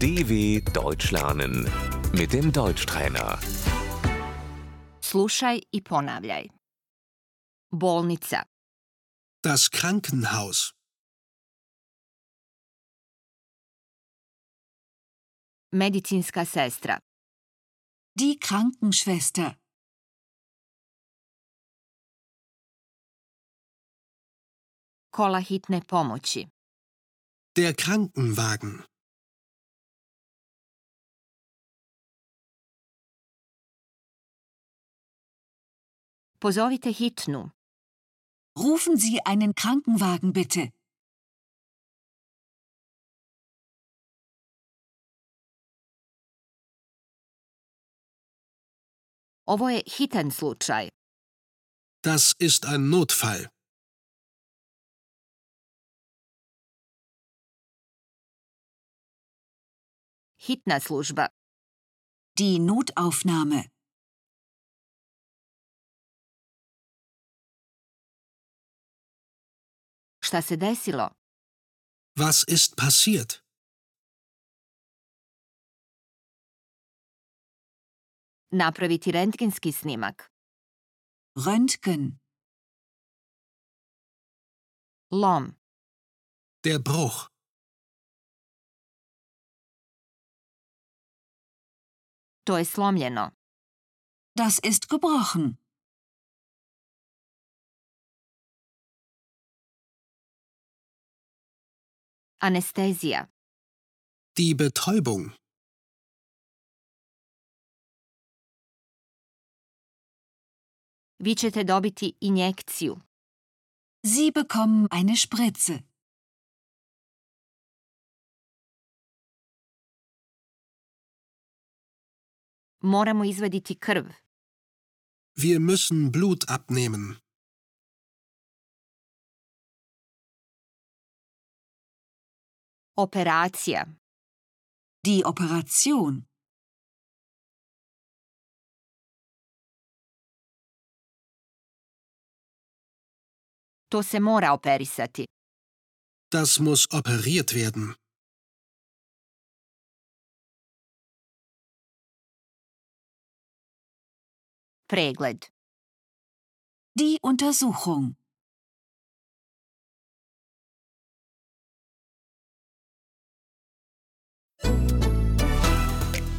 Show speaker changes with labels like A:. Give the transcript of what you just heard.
A: DW Deutsch lernen mit dem Deutschtrainer.
B: Slušaj i ponavljaj. Bolnica,
C: Das Krankenhaus.
B: medicinska sestra,
D: Die Krankenschwester.
B: kola hitne pomoći,
C: Der Krankenwagen.
B: pozovite hitnu,
D: Rufen Sie einen Krankenwagen bitte.
B: ovo je hitan slučaj,
C: Das ist ein Notfall.
B: hitna služba,
D: Die Notaufnahme.
B: šta se desilo,
C: Was ist passiert?
B: napraviti rentgenski snimak,
D: Röntgen.
B: lom,
C: Der Bruch.
B: to je slomljeno,
D: Das ist gebrochen.
B: anestezija,
C: Die Betäubung.
B: vi ćete dobiti injekciju,
D: Sie bekommen eine Spritze.
B: moramo izvaditi krv,
C: Wir müssen Blut abnehmen.
B: operacija,
D: Die Operation.
B: to se mora operisati,
C: Das muss operiert werden.
B: pregled,
D: Die Untersuchung.